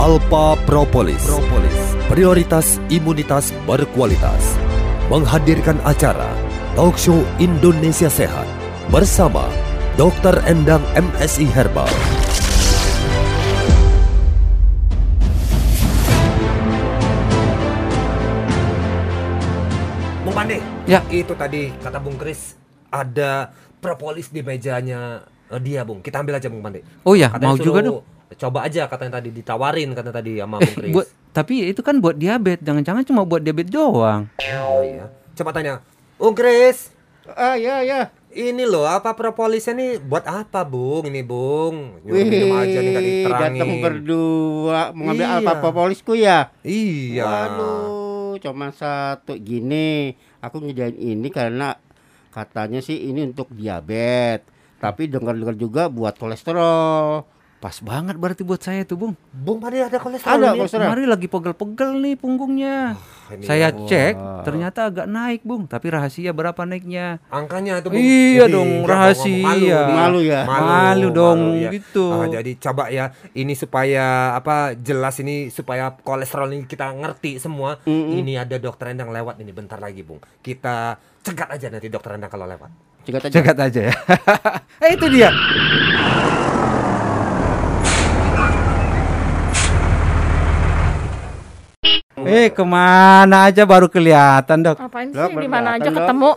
Alpa Propolis. Prioritas imunitas berkualitas. Menghadirkan acara Talk Show Indonesia Sehat bersama Dr. Endang MSI Herbal. Bung Pandey, Ya. itu tadi kata Bung Kris ada propolis di mejanya eh, dia, Bung. Kita ambil aja Bung Pandey. Oh ya, Katanya mau suruh juga dong. Coba aja katanya tadi ditawarin katanya tadi sama Eh, Bung Kris. buat tapi itu kan buat diabetes, jangan-jangan cuma buat diabetes doang. Oh iya. Coba tanya, Bung Kris, Ah ya ya. ini loh apa propolisnya nih buat apa, Bung? Ini, Bung. Nyuruh minum aja nih tadi Wih, terangin. datang berdua mengambil Iya. alpa propolisku ya. Iya. Waduh, cuma satu gini. Aku ngejain ini karena katanya sih ini untuk diabetes. Tapi dengar-dengar juga buat kolesterol. Pas banget berarti buat saya tuh, Bung. Bung Pandey ada kolesterol. Ada nih? kolesterol. Kemarin lagi pegel-pegel nih punggungnya. ini saya ya. cek Wah. ternyata agak naik, Bung, tapi rahasia berapa naiknya? Angkanya itu Iya Ih, dong, jangan rahasia. ngomong. Malu ya? Malu dong, ya. gitu. Ah, jadi coba ya ini supaya apa jelas ini supaya kolesterol ini kita ngerti semua. Ini ada dokter Endang lewat ini bentar lagi, Bung. Kita cegat aja nanti dokter Endang kalau lewat. Cegat aja. Cekat aja ya. eh itu dia. Eh kemana aja baru kelihatan dok? Apaan Lah, sih di mana aja kelihatan, Dok. ketemu?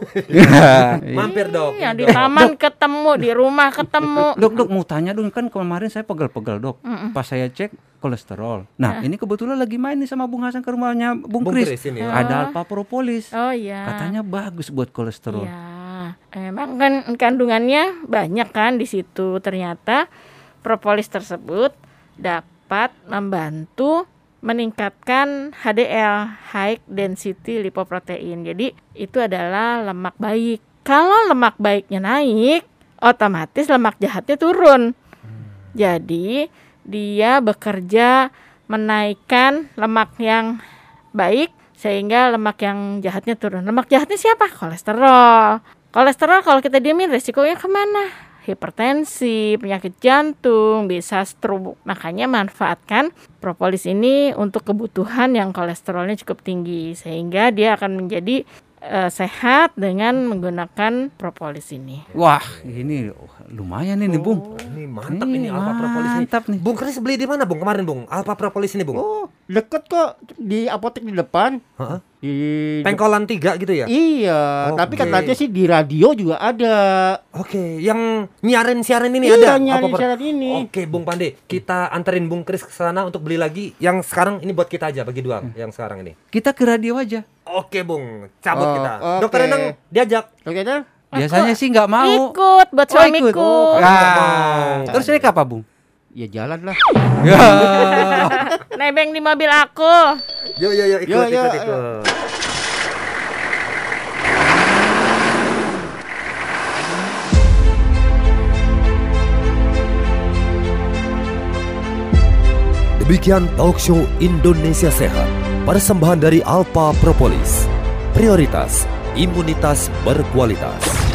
Mampir dong. Iya, di dok. taman ketemu, di rumah ketemu. dok dok mau tanya dong kan kemarin saya pegel-pegel dok. Pas saya cek Eh. kolesterol. Nah ini kebetulan lagi main nih sama Bung Hasan ke rumahnya Bung, Bung Kris. Iya. Kris ini ya. Ada alpa propolis. Oh iya. Katanya bagus buat kolesterol. Iya. Emang kan kandungannya banyak kan di situ. Ternyata propolis tersebut dapat membantu meningkatkan HDL (high density lipoprotein). Jadi itu adalah lemak baik. Kalau lemak baiknya naik, otomatis lemak jahatnya turun. Jadi dia bekerja menaikkan lemak yang baik sehingga lemak yang jahatnya turun. Lemak jahatnya siapa? Kolesterol. Kolesterol kalau kita diamin resikonya kemana? Hipertensi, penyakit jantung, bisa stroke. Makanya manfaatkan propolis ini untuk kebutuhan yang kolesterolnya cukup tinggi sehingga dia akan menjadi eh, sehat dengan menggunakan propolis ini. Wah ini lumayan ini Bung. Oh. Ini mantap ini Ih, alpha propolis ini. mantap nih. Bung Kris beli di mana, Bung? Kemarin, Bung. Alpha propolis ini, Bung. Oh, deket kok di apotek di depan. Heeh. Di Pengkolan 3 gitu ya? Iya, Oke. tapi katanya sih di radio juga ada. Oke, yang nyiarin siaran ini ada Iya, nyiarin Apa, Pak? siaran ini. Oke, Bung Pandey, kita anterin Bung Kris ke sana untuk beli lagi. Yang sekarang ini buat kita aja bagi dua Hmm. yang sekarang ini. Kita ke radio aja. Oke, Bung, cabut Oh, kita. oke. Dokter Enang diajak. Oke, dah. Biasanya sih nggak mau. Ikut Oh, buat ikut. suamiku. Oh, nggak ah. mau. Terus naik apa, Bung? Ya jalan lah. Nebeng di mobil aku. Yo yo yo ikut Yo, yo, ikut ayo. ikut. Demikian talk show Indonesia Sehat, persembahan dari Alpa Propolis. Prioritas imunitas berkualitas.